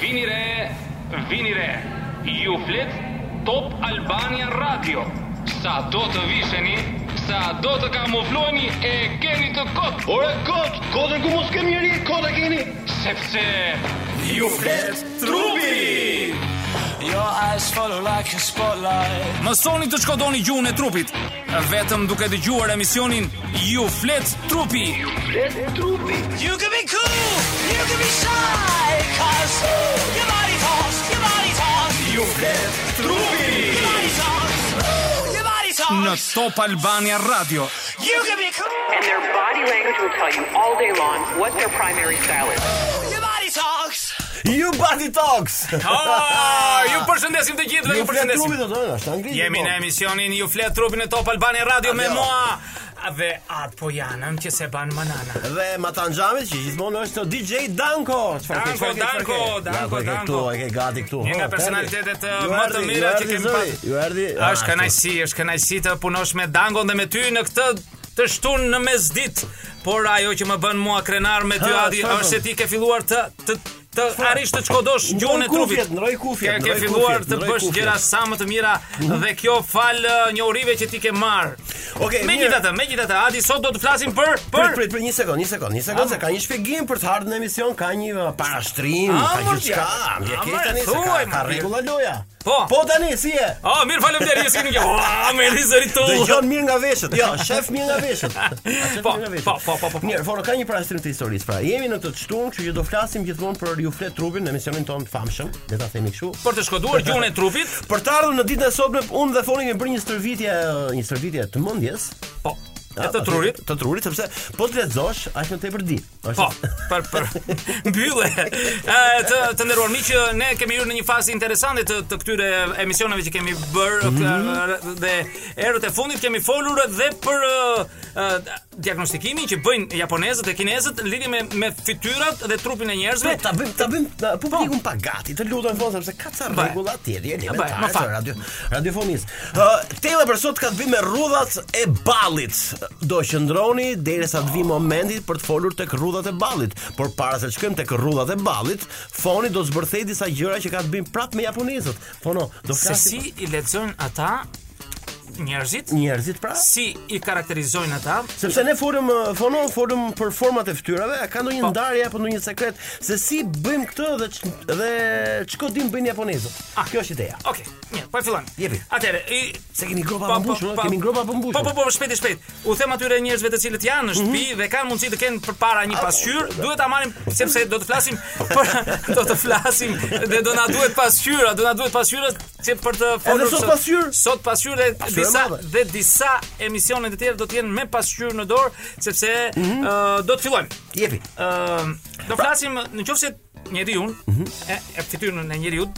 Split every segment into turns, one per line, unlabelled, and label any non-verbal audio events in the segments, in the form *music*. Vini re, vini re. Ju flet Top Albania Radio. Sa do të visheni, sa do të kamufloheni e keni të kot,
Ore kot, kotën ku mos kemi njëri, kota keni.
sepse
You flet trupi
Your eyes follow like a spotlight.
Mësoni të shkodoni gjuhën e trupit Vetëm duke dëgjuar emisionin Ju flet trupi
You can be cool, you can be shy, cause ooh, your body talks, your body talks,
Ju flet
your
trupi
body talks, ooh, your body
Në
talks.
Top Albania Radio
You can be cool,
And their body language will tell you all day long what their primary style is.
your body talks.
You body talks.
*laughs* oh, Ju përshëndesim të gjithëve, ju
flet
përshëndesim
trupit do të thonë, është anglisht. po.
Jemi në emisionin Ju flet trupi në Top Albania Radio me mua Dhe atë po janëm që se banë manana
Dhe Matan Xhamit që gjithmonë është DJ Danko. Çfarë ke,
Danko,
çfarë ke, çfarë ke?
Danko, Danko,
Ja, po e ke Këtu,
Danko.
e ke gati këtu.
Një nga
Ho,
personalitetet
Ferdi.
uh,
Ju
më të
erdhi,
mira
ju
që
erdhi
kemi
zëri,
pasur.
Ju erdhi. Ah,
Është
ashtu.
kënaqësi, është kënaqësi të punosh me Dangon dhe me ty në këtë të shtun në mesditë, por ajo që më bën mua krenar me ty
Ha,
Adi
çfarë
është
bën?
se ti ke filluar të të të arrish të çkodosh
Ndroj
gjuhën e
kufjet,
trupit.
ndroj kufjet,
Ke- Ke
ndroj
filluar
kufjet,
të
ndroj
bësh
kufjet.
gjëra sa më të mira dhe kjo fal uh, njohurive që ti ke marr.
Okej, mirë.
Megjithatë, megjithatë Adi sot do të flasim për
Prit,
për
prit, prit, një sekond, një sekond, një sekond, se ka një shpjegim për të ardhur në emision, ka një uh, parashtrim,
Ah,
ka
mor,
gjithçka.
ja.
Mje
Ah,
ke
mor,
tani se ka,
thuaj,
ka
mor,
rregulla loja.
Po.
Po tani si je?
Oh, mirë, faleminderit, jesi nuk jam. Oh, merri zëri tu.
Dëgjon mirë nga veshët. Jo, shef mirë nga
*laughs*
veshët. A, shef
Po,
mirë nga veshët.
po, po, po, po.
Mirë, foro ka një parastrim të historisë pra. Jemi në këtë shtunë, kështu që do flasim gjithmonë për ju flet trupin në emisionin ton të famshëm, le ta themi kështu.
Për të shkoduar gjuhën e trupit.
Për të ardhur në ditën e sotme, unë dhe Foni kemi bërë një stërvitje, një stërvitje të mendjes.
Po. E të trurit.
Të trurit, sepse po të lexosh, aq më tepër di. Është-
Po, për për mbyllje. Ë të të nderuar miq, ne kemi hyrë në një fazë interesante të, të këtyre emisioneve që kemi bër dhe erët e fundit kemi folur dhe për ë, ë, diagnostikimin që bëjnë japonezët e kinezët në lidhje me me fytyrat dhe trupin e njerëzve.
Po, ta bëjmë ta bëjmë ta- publikun
Po.
pa gati. Të lutem fon sepse ka ca
Bëj.
rregulla atje,
Bëj, më
elementare
fal.
të radio radiofonisë. Ë tema për sot ka të bëjë me rrudhat e ballit. Do qëndroni derisa të vi momenti për të folur tek rrudhat e ballit, por para se të shkojmë tek rrudhat e ballit, foni do zbërthej disa gjëra që ka të bëjnë prapë me japonezët. Fono, do
Se
flasim
si i lexojnë ata njerëzit?
njerëzit pra.
Si i karakterizojnë ata?
Sepse ne folëm uh, fono, folëm për format e fytyrave, a ka
Po.
ndonjë ndarje apo ndonjë sekret se si bëjmë këtë dhe ç, dhe ç'kodim bëjnë japonezët.
Ah.
Kjo është ideja.
Okej, mirë, po e fillojmë.
Jepi.
Atëre, i
Se keni gropa
Po,
pa mbushur,
po,
ëh,
po.
kemi gropa pa mbushur. Mhm.
Po po po, shpejt e shpejt. U them atyre njerëzve të cilët janë në shtëpi dhe kanë mundësi të kenë përpara një pasqyrë, duhet ta marrim sepse do të flasim për *laughs* do të flasim dhe do na duhet pasqyra, do na duhet pasqyra që për të folur.
sot
sot-
pasqyrë?
Sot pasqyrë dhe
Pasqyrë e
disa
madhe.
dhe disa emisione të tjera do të jenë me pasqyrë në dorë sepse
Mhm.
ë, do të fillojmë.
Jepi.
Ëm, do flasim në qoftë se njeriu
Mhm.
e, e fytyrën e njeriu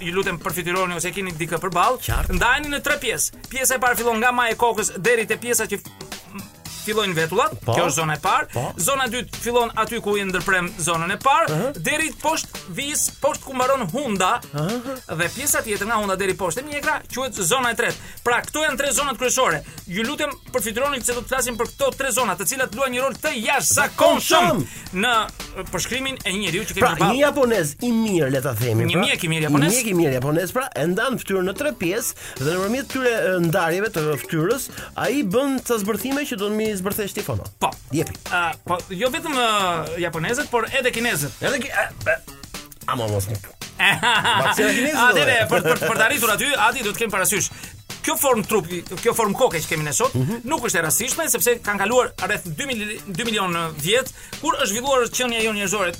ju lutem përfituroni ose keni dikë përballë,
Qartë.
ndajeni në tre pjesë. Pjesa e parë fillon nga maja e kokës deri te pjesa që f- fillojnë vetullat.
Po.
Kjo është zona e parë.
Po.
Zona e dytë fillon aty ku i ndërprem zonën e parë, deri poshtë vis, poshtë ku mbaron hunda. Dhe pjesa tjetër nga hunda deri poshtë e mjekra quhet zona e tretë. Pra, këto janë tre zonat kryesore. Ju lutem përfituroni se do të flasim për këto tre zona, të cilat luajnë një rol të jashtëzakonshëm në përshkrimin e një njeriu që kemi
Pra,
përballë.
një japonez i mirë le ta themi.
Një
pra.
mjek i mirë japonez.
Një mjek i mirë japonez, pra, e ndan fytyrën në tre pjesë dhe nëpërmjet këtyre e, ndarjeve të fytyrës, ai bën ca zbërthime që do të mi zbërthesh ti fono.
Po.
Jepi.
Ah, po, jo vetëm uh, japonezët, por edhe kinezët.
Edhe ki a, a, Amo mos më. Vaksina kineze,
Atëre,
do.
për për për të arritur aty, aty do të kemi parasysh. Kjo form trupi, kjo form koke që kemi ne sot,
Mhm.
nuk është e rastishme sepse kanë kaluar rreth 2 mili, 2 milion vjet kur është zhvilluar qenia jonë njerëzore.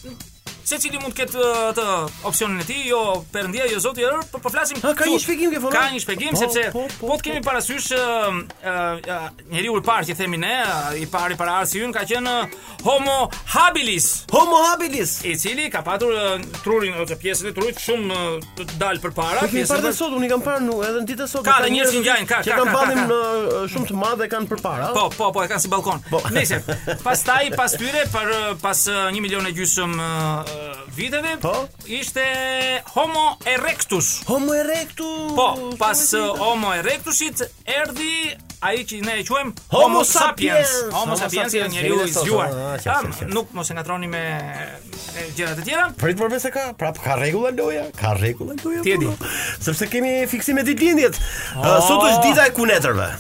Secili mund të ketë uh, të opsionin e tij, jo Perëndia, jo Zoti, jo, po po flasim.
Ha, ka
këtu.
një shpjegim kjo, Fono?
Ka një shpjegim
Po,
sepse
po, po,
po të kemi parasysh uh, uh, uh, njeriu i parë që themi ne, uh, i pari para arsye ka qenë uh, Homo habilis
Homo habilis.
i cili ka patur uh, trurin ose pjesën e trurit shumë uh, të dalë përpara,
Po kemi parë
e
dhe sot, unë i kam parë nuk, edhe në ditën e sotme.
Ka dhe njerëz që ngjajnë, ka, ka,
Që kanë
ka, ka,
ballim
ka.
në, e, shumë të madh dhe kanë përpara.
Po, po, po, e kanë si balkon. *laughs* Nëse, pastaj pas tyre par uh, pas uh, një milion e gjysmë uh, uh, viteve,
Po.
ishte Homo erectus.
Homo erectus.
Po, pas uh, Homo erectusit erdhi ai që ne e quajm
Homo sapiens.
Homo
Homo
sapiens
sapiens,
është njeriu i
filozof,
zgjuar.
ah, qartë,
Am,
qartë, qartë.
Nuk mos e ngatroni me e gjërat e
*laughs*
tjera. *laughs*
Prit për se ka, prap ka rregulla loja, ka rregulla loja.
Ti e di.
po. Sepse kemi fiksim e ditëlindjet. Ë, Sot është dita e kunetërve.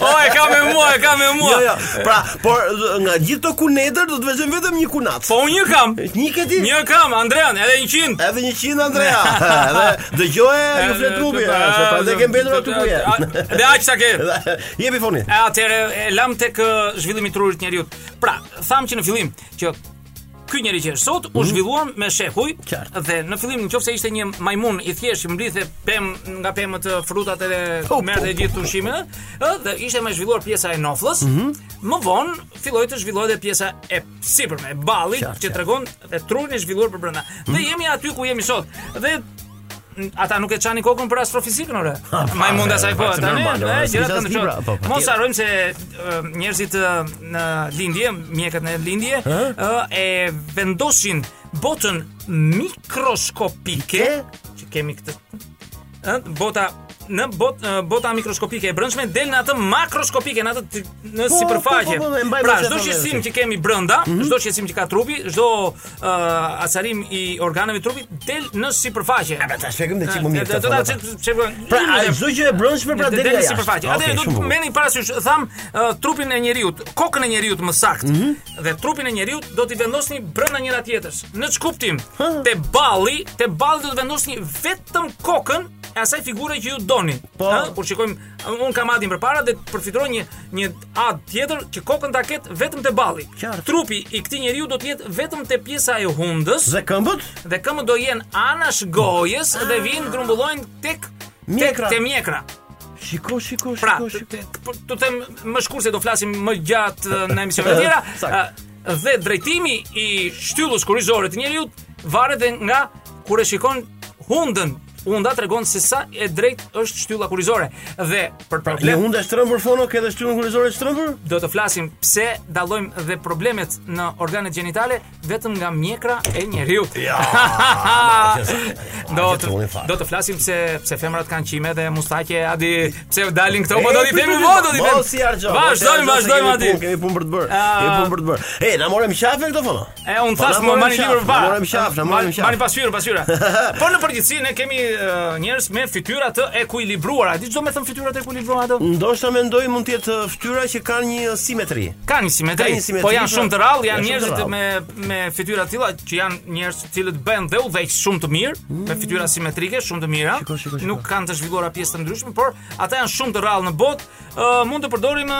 o, e ka me mua, e ka me mua.
Jo, jo. Pra, por nga gjithë këto kunetër do të vëzhgojmë vetëm një kunat.
Po unë një kam.
Një ke ti?
Një kam, Andrean, edhe 100.
Edhe 100
*laughs*
Andrea. Edhe dëgjoje ju flet trupi. Se pra dhe ke mbetur aty ku je. *laughs*
A- Dhe aq sa ke.
Edhe, Jepi fonin.
E atëre e lam tek ë, zhvillimi i trurit të njeriu. Pra, tham që në fillim që ky njeri që është sot u zhvilluan me shekuj
Mhm. Qartë.
dhe në fillim nëse ishte një majmun i thjeshtë që mblidhte pem nga pemët e, frutat edhe
Po, po, po,
merrte
Mhm.
gjithë ushqimin, ë, dhe ishte më zhvilluar pjesa e noflës. Më vonë filloi të zhvillohet edhe pjesa e sipërme, e ballit
Qartë, qartë.
që
Mhm.
tregon e trurin e zhvilluar për brenda. Dhe jemi aty ku jemi sot. Dhe n- ata nuk e çani kokën për astrofizikën
*laughs*
ore. Majmunda sa i po
pa, se
tani,
normal, ore,
e,
s'kisha
gjërat kanë
asnjë pra- po,
ndryshuar.
po,
Mos
tjetër.
harrojmë se ë, njerëzit ë, në lindje, mjekët në lindje, ë, e vendosin botën mikroskopike, që kemi këtë ë, bota në bot, ë, bota mikroskopike e brendshme del në atë makroskopike, në atë të- në
Po,
sipërfaqe.
po, po, po, e mbajmë
pra,
vetë
çdo
atë
qësim
vetë.
që kemi brenda, çdo qësim që ka trupi, çdo uh, acarim i organeve të trupit del në sipërfaqe.
A, pra, ta shpjegojmë dhe çik më mirë
Do
këtë
ta
fjalë,
çik- çik-
Pra, a çdo gjë e brendshme pra
Pra
del
del
nga
në
jashtë.
sipërfaqe.
Okej,
Atëherë do
shumë
të
bukur.
merrni parasysh, tham ë, trupin e njeriu, kokën e njeriu të më saktë
Mhm.
dhe trupin e njeriu do t'i vendosni brenda njëra tjetrës. Në çkuptim, te balli, te balli do të vendosni vetëm kokën e asaj figure që ju doni.
Po.
Ë, kur shikojmë, uh, un kam adin përpara dhe përfituroj një një ad tjetër që kokën ta ketë vetëm te balli.
Qartë.
Trupi i këtij njeriu do të jetë vetëm te pjesa e hundës
Dhe këmbët?
dhe këmbët do jenë anash gojës dhe vinë grumbullojnë tek
Mjekra.
tek te mjekra.
Shiko, shiko,
Pra,
shiko,
të-
shiko.
të- për- të them më shkurt se do flasim më gjatë eh, në emisionet e tjera.
Sakt.
eh, Dhe drejtimi i shtyllës kurrizore të njeriu varet edhe nga kur e shikon hundën. Hunda tregon se sa e drejt është shtylla kurrizore dhe për
Le
problem
hunda shtrëmbur fono, ke edhe shtyllën kurrizore shtrëmbur?
do të flasim pse dallojmë dhe problemet në organet gjenitale vetëm nga mjekra e njeriu. *laughs*
Ja.
do të
Qetëlloni fare.
do të flasim pse pse femrat kanë qime dhe mustaqe, a di pse dalin këto,
E,
po do t'i
pyet,
themi
pyet,
po do t'i
Mos i harxo.
themi. Vazhdojmë, vazhdojmë
aty.
aty.
Kemi punë për të bërë.
Ah.
Kemi punë për të bërë. E, na morëm qafë këto fono.
E unë
Po, na
thash më
morëm
marrni
qafë,
libër
na
varë.
Morëm qafë, na morëm
Marrni
qafë.
pasyrë, pasyra.
*laughs*
Po në përgjithësi ne kemi eh, njerëz me fytyra të ekuilibruara. A di çdo me thën fytyra të ekuilibruara ato?
Ndoshta mendoj mund të jetë uh, fytyra që kanë një uh, simetri.
Ka një simetri,
Ka një simetri,
po janë
pra,
shumë të rrallë, janë
janë shumë të
njerëzit me me fytyra të tilla që janë njerëz të cilët bëjnë dhe udhëheq shumë të mirë, me fytyra simetrike shumë të mira.
Mm. Shiko, shiko, shiko.
Nuk kanë të zhvilluara pjesë të ndryshme, por ata janë shumë të rrallë në botë. ë, mund të përdorim ë,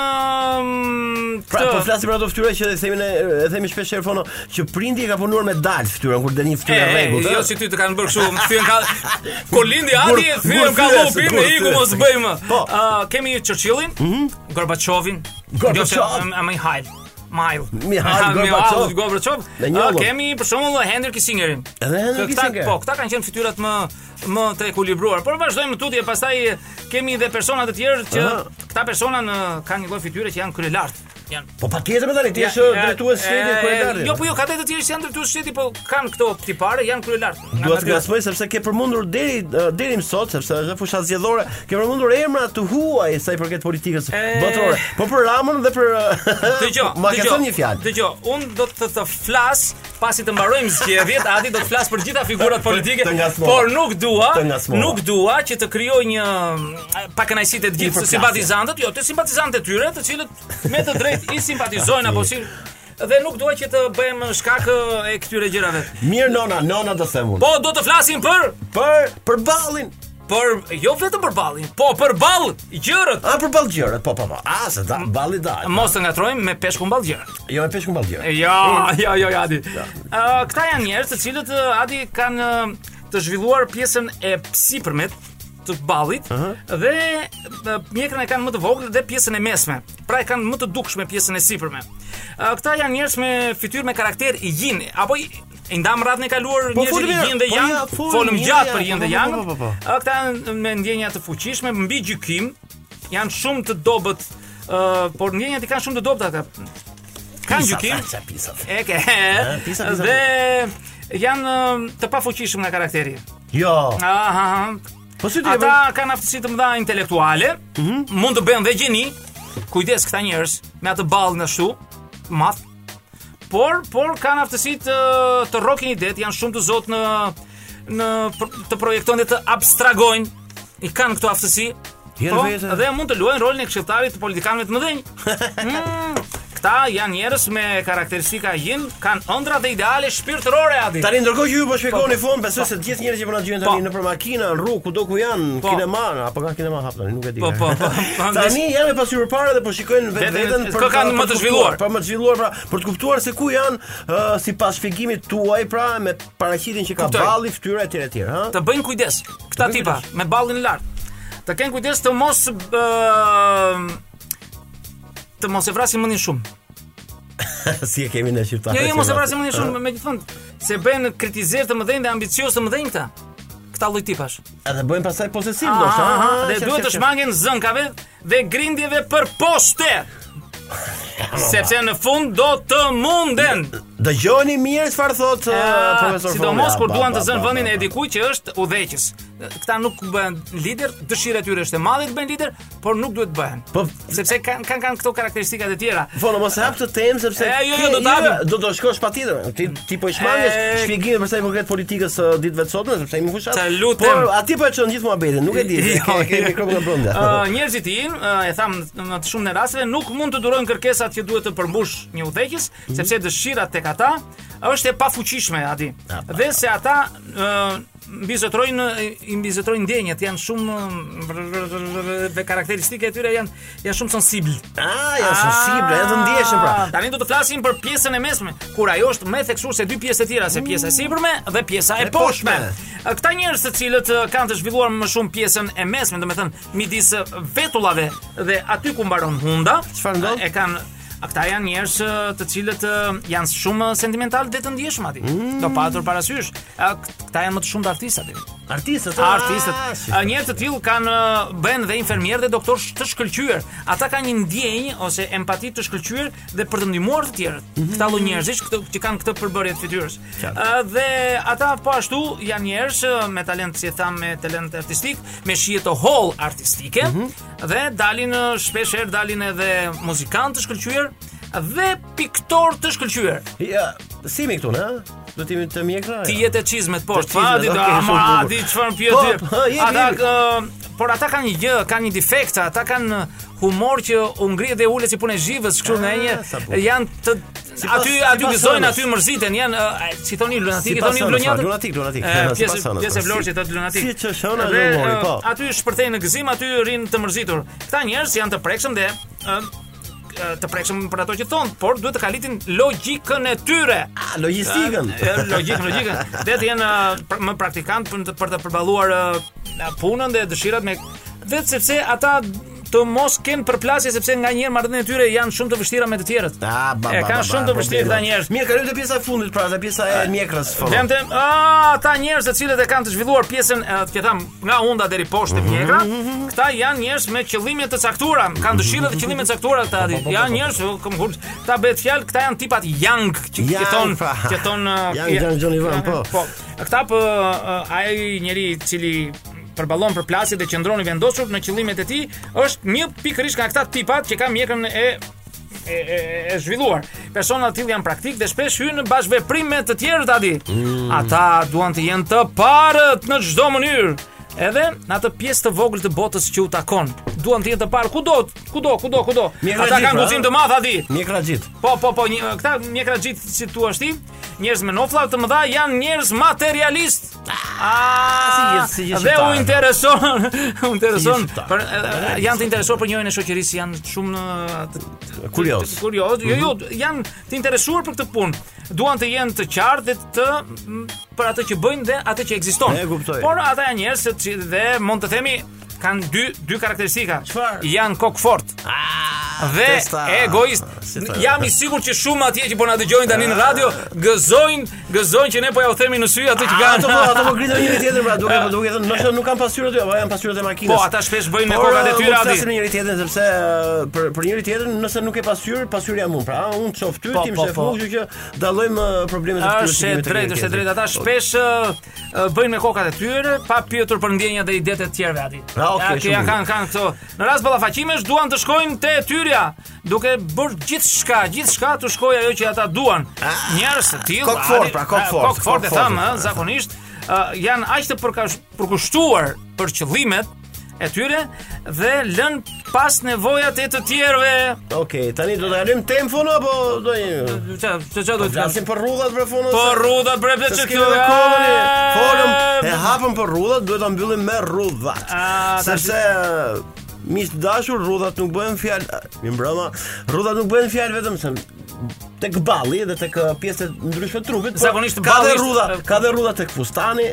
Pra, po
këtë
flasim për ato fytyra që e themi ne, e themi shpesh herë fono, që prindi e ka punuar me dal fytyrën kur del një
E,
fytyrë e
e,
rregullt.
jo si ty të kanë bërë kështu, më thyen
*laughs*
ka kur lindi Adi,
Gur-
thyen ka
gurthyes,
lopin e iku
gurthyes.
mos bëj më.
Po. Mhm.
Ë, kemi Churchillin, Gorbachevin,
Gorbachev.
Mihail. Mile. *laughs*
Mikhail Gorbachev.
Gorbachev.
Dhe njollën.
Ë, Ah, kemi për shembull Henry Kissingerin.
Edhe Henry
Këta-
Kissinger.
Po, këta kanë qenë fytyrat më më të ekuilibruar. Por vazhdojmë tutje, pastaj kemi edhe persona të tjerë që
Aha.
këta persona në kanë një lloj fytyre që janë kryelart. Janë
Po patjetër më tani, ti je drejtues shtetit kur e dalin.
Jo, po jo, ka të tjerë që janë drejtues shteti, po kanë këto tipare, janë kryelart.
Dua
Nga
të
natyra.
gasmoj sepse ke përmendur deri uh, deri më sot, sepse është fusha zgjedhore, ke përmendur emra të huaj sa i përket politikës
E-
botërore. Po për Ramën dhe për
Dëgjoj,
*laughs* Ma ka thënë një fjalë.
Dëgjoj, unë do të të flas pasi të mbarojmë zgjedhjet, Adi do të flas për gjitha figurat politike,
Të ngasmova.
por nuk dua,
Të ngasmova.
nuk dua që të krijoj një mm, pakënaqësi të
Një
gjithë të
përplasje.
simpatizantët, jo, të simpatizantët e tyre, të cilët me të drejtë i simpatizojnë apo si dhe nuk dua që të bëhem shkak ë, e këtyre gjërave.
Mirë nona, nona do them unë.
Po do të flasim për
për për ballin.
për jo vetëm për ballin, po për ball gjërët.
A për ballgjërat, po po po. A se da balli da.
Mos të ngatrojmë me peshkun ball gjëra.
Jo e peshkun ballgjërat. *laughs*
Ja, ja, ja, ja, Adi. Ë, këta janë njerëz të cilët ë, Adi kanë ë, të zhvilluar pjesën e sipërmet të ballit dhe ë, mjekrën e kanë më të vogël dhe pjesën e mesme. Pra e kanë më të dukshme pjesën e sipërme. Ë, këta janë njerëz me fytyrë me karakter i yin apo i I ndam radhën e kaluar
Po,
njerëzit
folim
i yin dhe
mirë, po,
yang,
ja, folim
folëm
mirë,
gjatë
ja,
për
po,
yin dhe
po,
yang.
po, po, po.
Ë, Këta janë me ndjenja të fuqishme, mbi gjykim, janë shumë të dobët, ë, por ndjenjat i kanë shumë të dobëta këta. Kanë gjykim,
Pisa, pisa.
E ke.
pisa, pisa,
Dhe janë ë, të pafuqishëm nga karakteri.
Jo.
Aha.
Po si ti e
Ata kanë aftësi të mëdha intelektuale,
Mhm.
mund të bëjnë dhe gjeni. Kujdes këta njerëz me atë ballin ashtu, madh. por por kanë aftësi të të rrokin idet, janë shumë të zot në në pr- të projektojnë dhe të abstragojnë. I kanë këto aftësi.
Janë
po,
vete.
dhe mund të luajnë rolin e këshilltarit të politikanëve të
*laughs*
mëdhenj. Mm, këta janë njerëz me karakteristika yin, kanë ëndra dhe ideale shpirtërore aty.
Tani ndërkohë që ju po shpjegoni
Po,
fon, besoj se të gjithë njerëzit që po na dëgjojnë tani
Po.
nëpër makina, në rrugë, kudo ku janë, në
Po.
kinema, apo kanë kinema hap tani, nuk e di. eh.
Po, po,
*laughs*
po. Po,
Tani janë me pasur para dhe po shikojnë
Vetën-
vetveten
kë kanë
ta-
më të
kuptuar,
zhvilluar.
Për më të zhvilluar, pra, për të kuptuar se ku janë ë, sipas shpjegimit tuaj, pra me paraqitjen që ka
Kuptoj.
balli, fytyra etj etj,
*laughs*
ha?
të bëjnë kujdes. Këta
bëjnë
tipa
kujdes.
me ballin lart. Të kenë kujdes të mos ë, të mos e vrasin mendin shumë.
si e kemi ne shqiptarët.
Jo, jo, mos e
se-
vrasin mendin shumë, megjithënë se bëjnë kritizerë të mëdhenj dhe ambicioz të mëdhenj këta. Këta lloj tipash.
Edhe bëjnë pastaj posesiv
Aha,
ndoshta.
aha,
Ah, ha,
Dhe
qef,
duhet
qef,
të
qef.
shmangen zënkave dhe grindjeve për poshte. Sepse në fund do të munden.
Dëgjoni mirë çfarë thot ë,
Ah,
profesor.
Sidomos
Fonia.
kur
Ba,
duan
ba,
të zënë
ba,
vendin
ba,
e
ba.
dikujt që është udhëheqës. Këta nuk bëhen lider, dëshira e tyre është e madhe të bëhen lider, por nuk duhet bëhen.
Po-
sepse kanë kanë kanë këto karakteristikat e tjera.
Fono mos e hap të temë sepse
E, jo, jo,
ke-
do t'hapim.
do do shkosh patjetër. Ti ti po i shmangesh
E-
shpjegime për sa i konkret politikës së ditëve të sotme sepse jemi fushat.
Të lutem.
Por aty po e çon gjithë muhabetin, nuk e
*laughs*
di.
Jo,
se Ke ke mikrofon në brenda.
Ë, njerëzit i in, ë, e tham në në të shumë në rasteve, nuk mund të durojnë kërkesat që duhet të përmbush një udhëheqës, sepse dëshira tek ata është e pafuqishme aty.
A, pa,
Dhe se ata ë, mbizotrojnë i mbizotrojnë ndjenjat, janë shumë ë, dhe karakteristike e tyre janë janë shumë sensible.
Ah, janë sensible, janë të ndjeshëm pra.
Tani do të flasim për pjesën e mesme, kur ajo është më e theksuar se dy pjesë të tjera, se pjesa e sipërme dhe pjesa e
Dhe
poshtme.
poshtme.
Këta njerëz të cilët eh, kanë të zhvilluar më shumë pjesën e mesme, domethënë midis eh, vetullave dhe aty ku mbaron hunda,
Çfarë ndodh?
eh, E kanë A këta janë njerëz eh, të cilët eh, janë shumë sentimental dhe të ndjeshëm aty.
Mm.
Do patur parasysh. A Këta janë më të shumë artistë aty
Artistët,
a
ah,
artistët.
si.
A, Njerëz të tillë kanë ë, bëhen dhe infermierë dhe doktor sh- të shkëlqyer. Ata kanë një ndjenjë ose empati të shkëlqyer dhe për të ndihmuar të tjerët. Këta lloj njerëzish këto që kanë këtë përbërje të fytyrës.
Mhm. Qartë.
Ë, Dhe ata po ashtu janë njerëz ë, me talent, si e tham, me talent artistik, me shije të holl artistike
Mhm.
dhe dalin ë, shpesh herë dalin edhe muzikantë të shkëlqyer dhe piktor të shkëlqyer.
Ja, si mi këtu, ne? Do të jemi të mjekra.
Ti
ja?
jetë e çizmet
Të
poshtë.
çizmet,
Fadi do
okay,
ama
shumë bukur.
di çfarë pje
Po,
ti.
po, jepi,
Ata
jepi.
ë, por ata kanë një gjë, kanë një defekt, ata kanë humor që u ngrihet dhe ulet si punë e zhivës, kështu në
Ah, sa
një
bukur.
janë të
pas-
aty
si
aty
pas
gëzojnë,
zonës.
aty mërziten, janë ë, a- si thoni lunatik,
Si
i
pas
thoni
zonës,
lunjatë.
fa, lunatik, lunatik,
E,
fa, *laughs* si
pjesë-
pas zonës,
Pjesë e
fa,
vlorit
si-
që thotë lunatik.
si që shona
Dhe,
lumori,
ë,
po.
Aty shpërthejnë në gëzim, aty rinë të mërzitur. Këta njerëz janë të prekshëm dhe ë, ë, të prekshëm për ato që thon, por duhet të kalitin logjikën e tyre.
Ah, logjistikën.
Ë, Logjik, logjikën. Dhe të jenë ë, pr- më praktikant për të, për të përballuar ë, punën dhe dëshirat me vetë sepse ata të mos kenë përplasje sepse nganjëherë marrëdhëniet e tyre janë shumë të vështira me të tjerët.
Ah, ba, ba,
E
ba, ba,
kanë shumë të vështirë Ah. këta
problema.
njerëz.
Mirë, kalojmë te pjesa e fundit, pra, te pjesa e mjekrës. fono.
Them them, ah, ata njerëz të cilët e kanë të zhvilluar pjesën, ë, që tham, nga hunda deri poshtë tek mjekra, këta janë njerëz me qëllime të caktuara, kanë dëshira dhe qëllime të caktuara këta. Janë njerëz, ë, kom kur ta bëhet fjalë, këta janë tipat yang, që që
Yang,
thon,
pra.
që thon ë,
Yang, Yang Johnny Van, po.
Po. Këta po ë, ai njeri i cili përballon për plasje dhe qëndron i vendosur në qëllimet e tij, është një pikërisht nga këta tipat që kanë mjekën e e, e, e zhvilluar. Persona të tillë janë praktik dhe shpesh hynë në bashkëveprim me të tjerët aty.
Mm.
Ata duan të jenë të parët në çdo mënyrë. Edhe në atë pjesë të vogël të botës që u takon, duan të jenë të parë kudo, kudo, kudo, kudo.
Mirë,
Ata
Rajiv,
kanë
pra.
guxim të madh aty.
Mjekra gjit.
Po, po, po, një, këta mjekra gjitë si tu ashti, njerëz me nofla të mëdha janë njerëz materialist. Ah,
si jetë- si jetë
Dhe u
shqiptare.
intereson, *laughs* u intereson
shqiptare.
për e, janë të interesuar për njërin e shoqërisë, janë shumë eh, e, të-
Kurioz. Mhm.
të- Kurioz, jo, jo, janë të interesuar për këtë punë. Duan të jenë të qartë dhe të m, për atë që bëjnë dhe atë që ekziston.
E kuptoj.
Por ata janë njerëz se që- dhe mund të themi kanë dy dy karakteristika.
Çfarë?
Janë kokfort dhe
Ah, Testa.
egoist.
Si ta-
Jam i sigurt që shumë atje që po na dëgjojnë tani në radio gëzojnë, gëzojnë që ne po ja u themi në sy atë që
Ah, Ato po, ato po
kanë.
gritën njëri tjetrin, pra,
*laughs*
duke po duke thënë, ndoshta nuk kanë pasyrë aty, apo janë pasyrë e makinës.
Po, ata shpesh bëjnë me
Por,
kokat e
uh,
tyre
mund të
aty.
flasim me njëri tjetrin sepse uh, për për njëri tjetrin nëse nuk e pasqyr, pasqyr jam unë. Pra, unë çof ty,
Po,
tim
po,
shef
po.
unë, kështu që dallojmë uh, problemet e
Është e drejtë, është e drejtë. Ata shpesh ë, ë, bëjnë me kokat e tyre pa pyetur për ndjenjat dhe idetë e të tjerëve aty.
Ah, okay,
Ja, që
shumë
ja
mirë.
kanë kanë këto. Në rast ballafaqimesh duan të shkojnë te ty ytyrja, duke bërë gjithçka, gjithçka të shkojë ajo që ata duan. Njerëz të tillë,
Ah, Kok fort,
Adi-
pra, kok
a,
fort,
Kok fort e
kok
tham,
fort, a,
ë, zakonisht ë, janë aq të përkash- përkushtuar për qëllimet e tyre dhe lën pas nevojat e të tjerëve.
Okej, tani do të halim tempon apo do jemi?
Ç'a ç'a do të thosh?
Flasim për rrudhat për fono.
Po rrudha bre bre
që
ç'kjo.
kjo kohën. Folëm e hapëm për rrudhat, duhet ta mbyllim me rrudhat.
A, tash-
Sepse miq të dashur, rrudhat nuk bëhen fjalë. Ah, Mi mbrëma, rrudhat nuk bëhen fjalë vetëm se tek balli dhe tek uh, pjesët ndryshme të trupit. po
Zakonisht
ka
balli
dhe
është-
rrudha, ka dhe rrudha tek
*laughs*
fustani.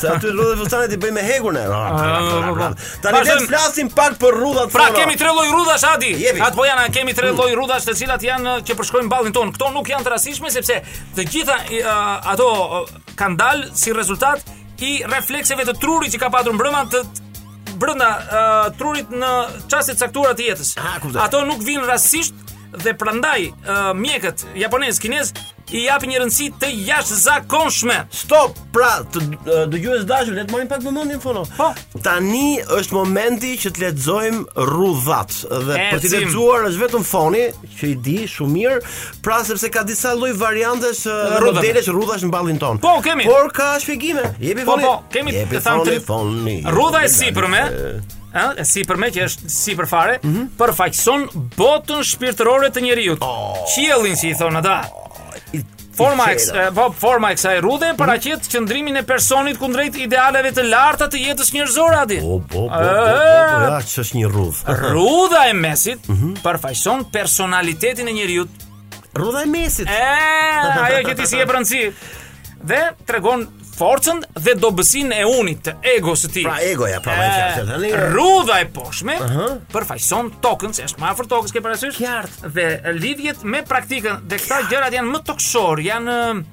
se aty rrudha fustani ti bëj me hegun e.
po, po.
Tani le të
Vazhdojmë.
flasim pak për rrudhat.
Pra
fona.
kemi tre lloj rrudhash Adi.
Jepi. Mm.
Atë po janë kemi tre lloj rrudhash të cilat janë uh, që përshkojnë ballin ton. Këto nuk janë të rastishme sepse të gjitha i, a, ato a, kanë dalë si rezultat i reflekseve të trurit që ka patur mbrëma të të- brenda a, trurit në çastet caktuara të jetës.
Ah, kuptoj.
Ato nuk vijnë rastisht dhe prandaj a, mjekët japonez, kinez i japin një rëndësi të jashtëzakonshme.
Stop, pra, të ë, dëgjues dashur, le të marrim pak vëmendjen fono.
Po.
Tani është momenti që të lexojmë rrudhat dhe për të
Ecim.
lexuar është vetëm foni që i di shumë mirë, pra sepse ka disa lloj variantesh ë,
Rrudhave.
modelesh rrudhash në ballin ton.
Po, kemi.
Por ka shpjegime. Jepi
Po
foni.
po, kemi
Jepi
të tham
foni,
tri
foni.
Rrudha e sipërme, ë, e sipërme që është sipër fare, përfaqëson botën shpirtërore të njeriu.
Oh.
Qiellin si i thon ata.
I-
Forma
i
e kës-
qela.
e, po forma e kësaj rrudhe paraqet qëndrimin e personit kundrejt idealeve të larta të jetës njerëzore aty.
Po po po. po, po,
Ë.
po, Ja, ç'është një rrudh.
Rrudha e mesit përfaqëson personalitetin e njeriu.
Rrudha e mesit.
E, ajo që ti si e brëndësi. Dhe tregon forcën dhe dobësinë e unit, të egos të tij.
Pra egoja, pra më qartë tani.
Rrudha e poshtme përfaqëson tokën, se është më afër tokës ke parasysh?
Qartë.
Dhe lidhjet me praktikën dhe këta gjërat janë më tokësor, janë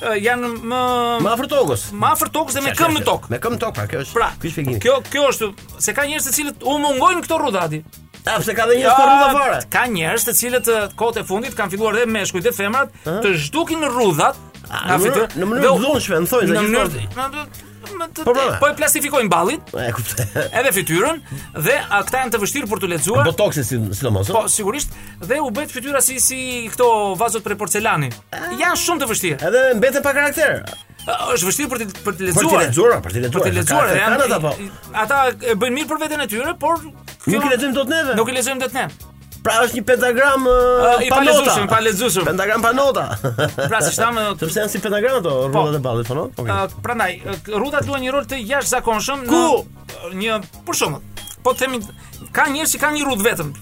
ë, janë më
Më afër tokës.
më afër tokës dhe me këmbë në tokë.
Me këmbë në tokë, pra kjo është.
Pra,
ky shpjegimi.
kjo kjo është se ka njerëz të cilët u mungojnë këto rrudhati.
A pse ka dhe një rrudha fare?
Ka njerëz të cilët ë, kohët e fundit kanë filluar dhe meshkujt dhe femrat të zhdukin në rrudhat.
A,
nga
në mënyrë-
fitë-
në mënyrë
dhe u-
dhunshme, më thonë, se
Në
gjithmonë.
mënyrë në- në- në- të-
Po, po, po.
Po e plastifikojnë ballin,
*laughs* E kuptoj.
edhe fytyrën dhe a, këta janë të vështirë për të lexuar.
Botoksi si sidomos.
Po sigurisht dhe u bëhet fytyra si si këto vazot për porcelani. Janë shumë të vështirë.
Edhe mbetet pa karakter.
Ë, Është vështirë për të për të
Për
lexuar.
të lexuar, për të lexuar.
Për të lexuar,
Ka
janë
karakter ata po.
ata e bëjnë mirë për veten e tyre, por
Nuk i lexojmë dot neve.
Nuk i lexojmë dot ne.
Pra është një pentagram
Ë,
ë,
I
pa nota.
palexueshëm, palexueshëm.
*laughs* Pentagram pa nota.
*laughs* Pra si thamë,
Sepse janë si pentagram ato rrugët e ballit, po no? Okej.
ë, prandaj ë, rrudat luajnë një rol të jashtëzakonshëm në
Ku?
një për shembull. Po të themi ka njerëz që kanë një rrudh vetëm.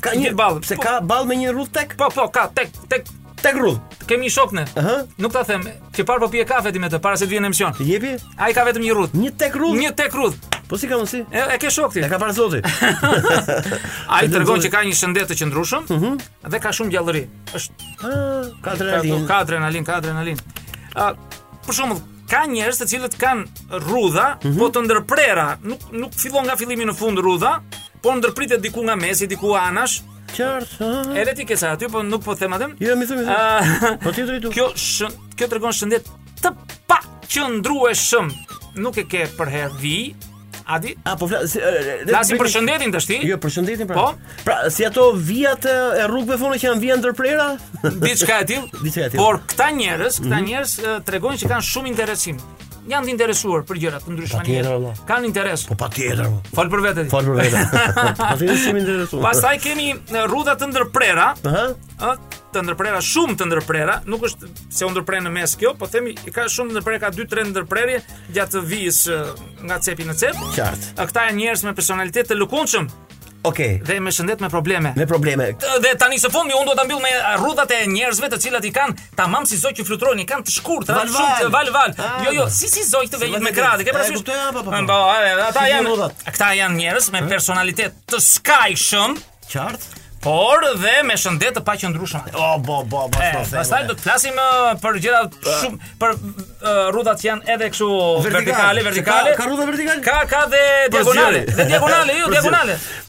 Ka një
ball.
pse
Po,
ka ball me një rrugë tek
Po po, ka tek tek
tek rrugë.
kemi një shok ne.
Aha.
Nuk ta them, që parë po pije kafe ti me të para se të vjen në emision.
Të jepi
Ai ka vetëm një rrudh.
një tek rrugë.
Një tek rrudh.
Po si ka mundsi?
E, e ke shok ti.
E ka parë
*laughs*
zoti.
Ai tregon
zoti.
që ka një shëndet të qëndrueshëm
Mhm.
dhe ka shumë gjallëri. Është
Ah, Ka
ka
adrenalin.
ka adrenalin, ka adrenalin. Ë, për shembull, ka njerëz të cilët kanë rrudha,
Mhm.
po të ndërprera, nuk nuk fillon nga fillimi në fund rrudha, po ndërpritet diku nga mesi, diku anash.
Qartë. ah.
Edhe ti ke sa aty, po nuk po them atë.
Jo, më thuaj, më thuaj.
Ë,
Po ti drejtu.
Kjo shën, kjo tregon shëndet të pa qëndrueshëm. Nuk e ke për herë vi. Adi,
A po flas. si, ë, le-
Flasim
bëj-
për shëndetin tash ti.
Jo, për shëndetin pra.
Po.
Pra, si ato vijat eh, e e rrugëve fonë që janë vija *laughs* ndërprera?
diçka e tillë.
Diçka e tillë. Mhm.
Por këta njerëz, këta njerëz e, tregojnë që kanë shumë interesim. Janë të interesuar për gjëra të ndryshme.
Patjetër,
njerëz.
valla.
Kanë interes.
Po patjetër. po.
Fol për vetë.
Fal për
*laughs*
vetë. Po ti s'im intereson.
Pastaj kemi e, rrudha të ndërprera,
Aha.
ë, të ndërprera shumë të ndërprera, nuk është se u ndërpren në mes kjo, po themi i ka shumë ndërprerje, ka 2-3 ndërprerje gjatë vijës e, nga cepi në cep.
Qartë.
Ë, Këta janë njerëz me personalitet të lëkundshëm
Okej.
dhe me shëndet me probleme.
Me probleme.
T- dhe tani së fundmi unë do ta mbyll me rrudhat e njerëzve të cilat i kanë tamam si zogj që fluturojnë, i kanë të shkurtë,
Val,
val, shumë të- val val.
Ah,
Jo jo, si si zogj të vejnë
val,
me
val.
krahë,
E,
ke parasysh?
kuptoj, ah, po, po, po.
Po, e, ata
Si janë
janë
rrudhat?
ata janë njerëz me personalitet të skajshëm,
Qartë.
por dhe me shëndet të paqëndrueshëm.
O bo bo bo.
E,
s'po them,
Eh, Pastaj
e.
do të flasim ë, për gjëra shumë për ë, rrudhat që janë edhe kështu
Vertikale,
vertikale,
se ka-
vertikale.
ka rrudha vertikale?
Ka ka dhe diagonale,
zjarri.
dhe diagonale, jo
Për
diagonale.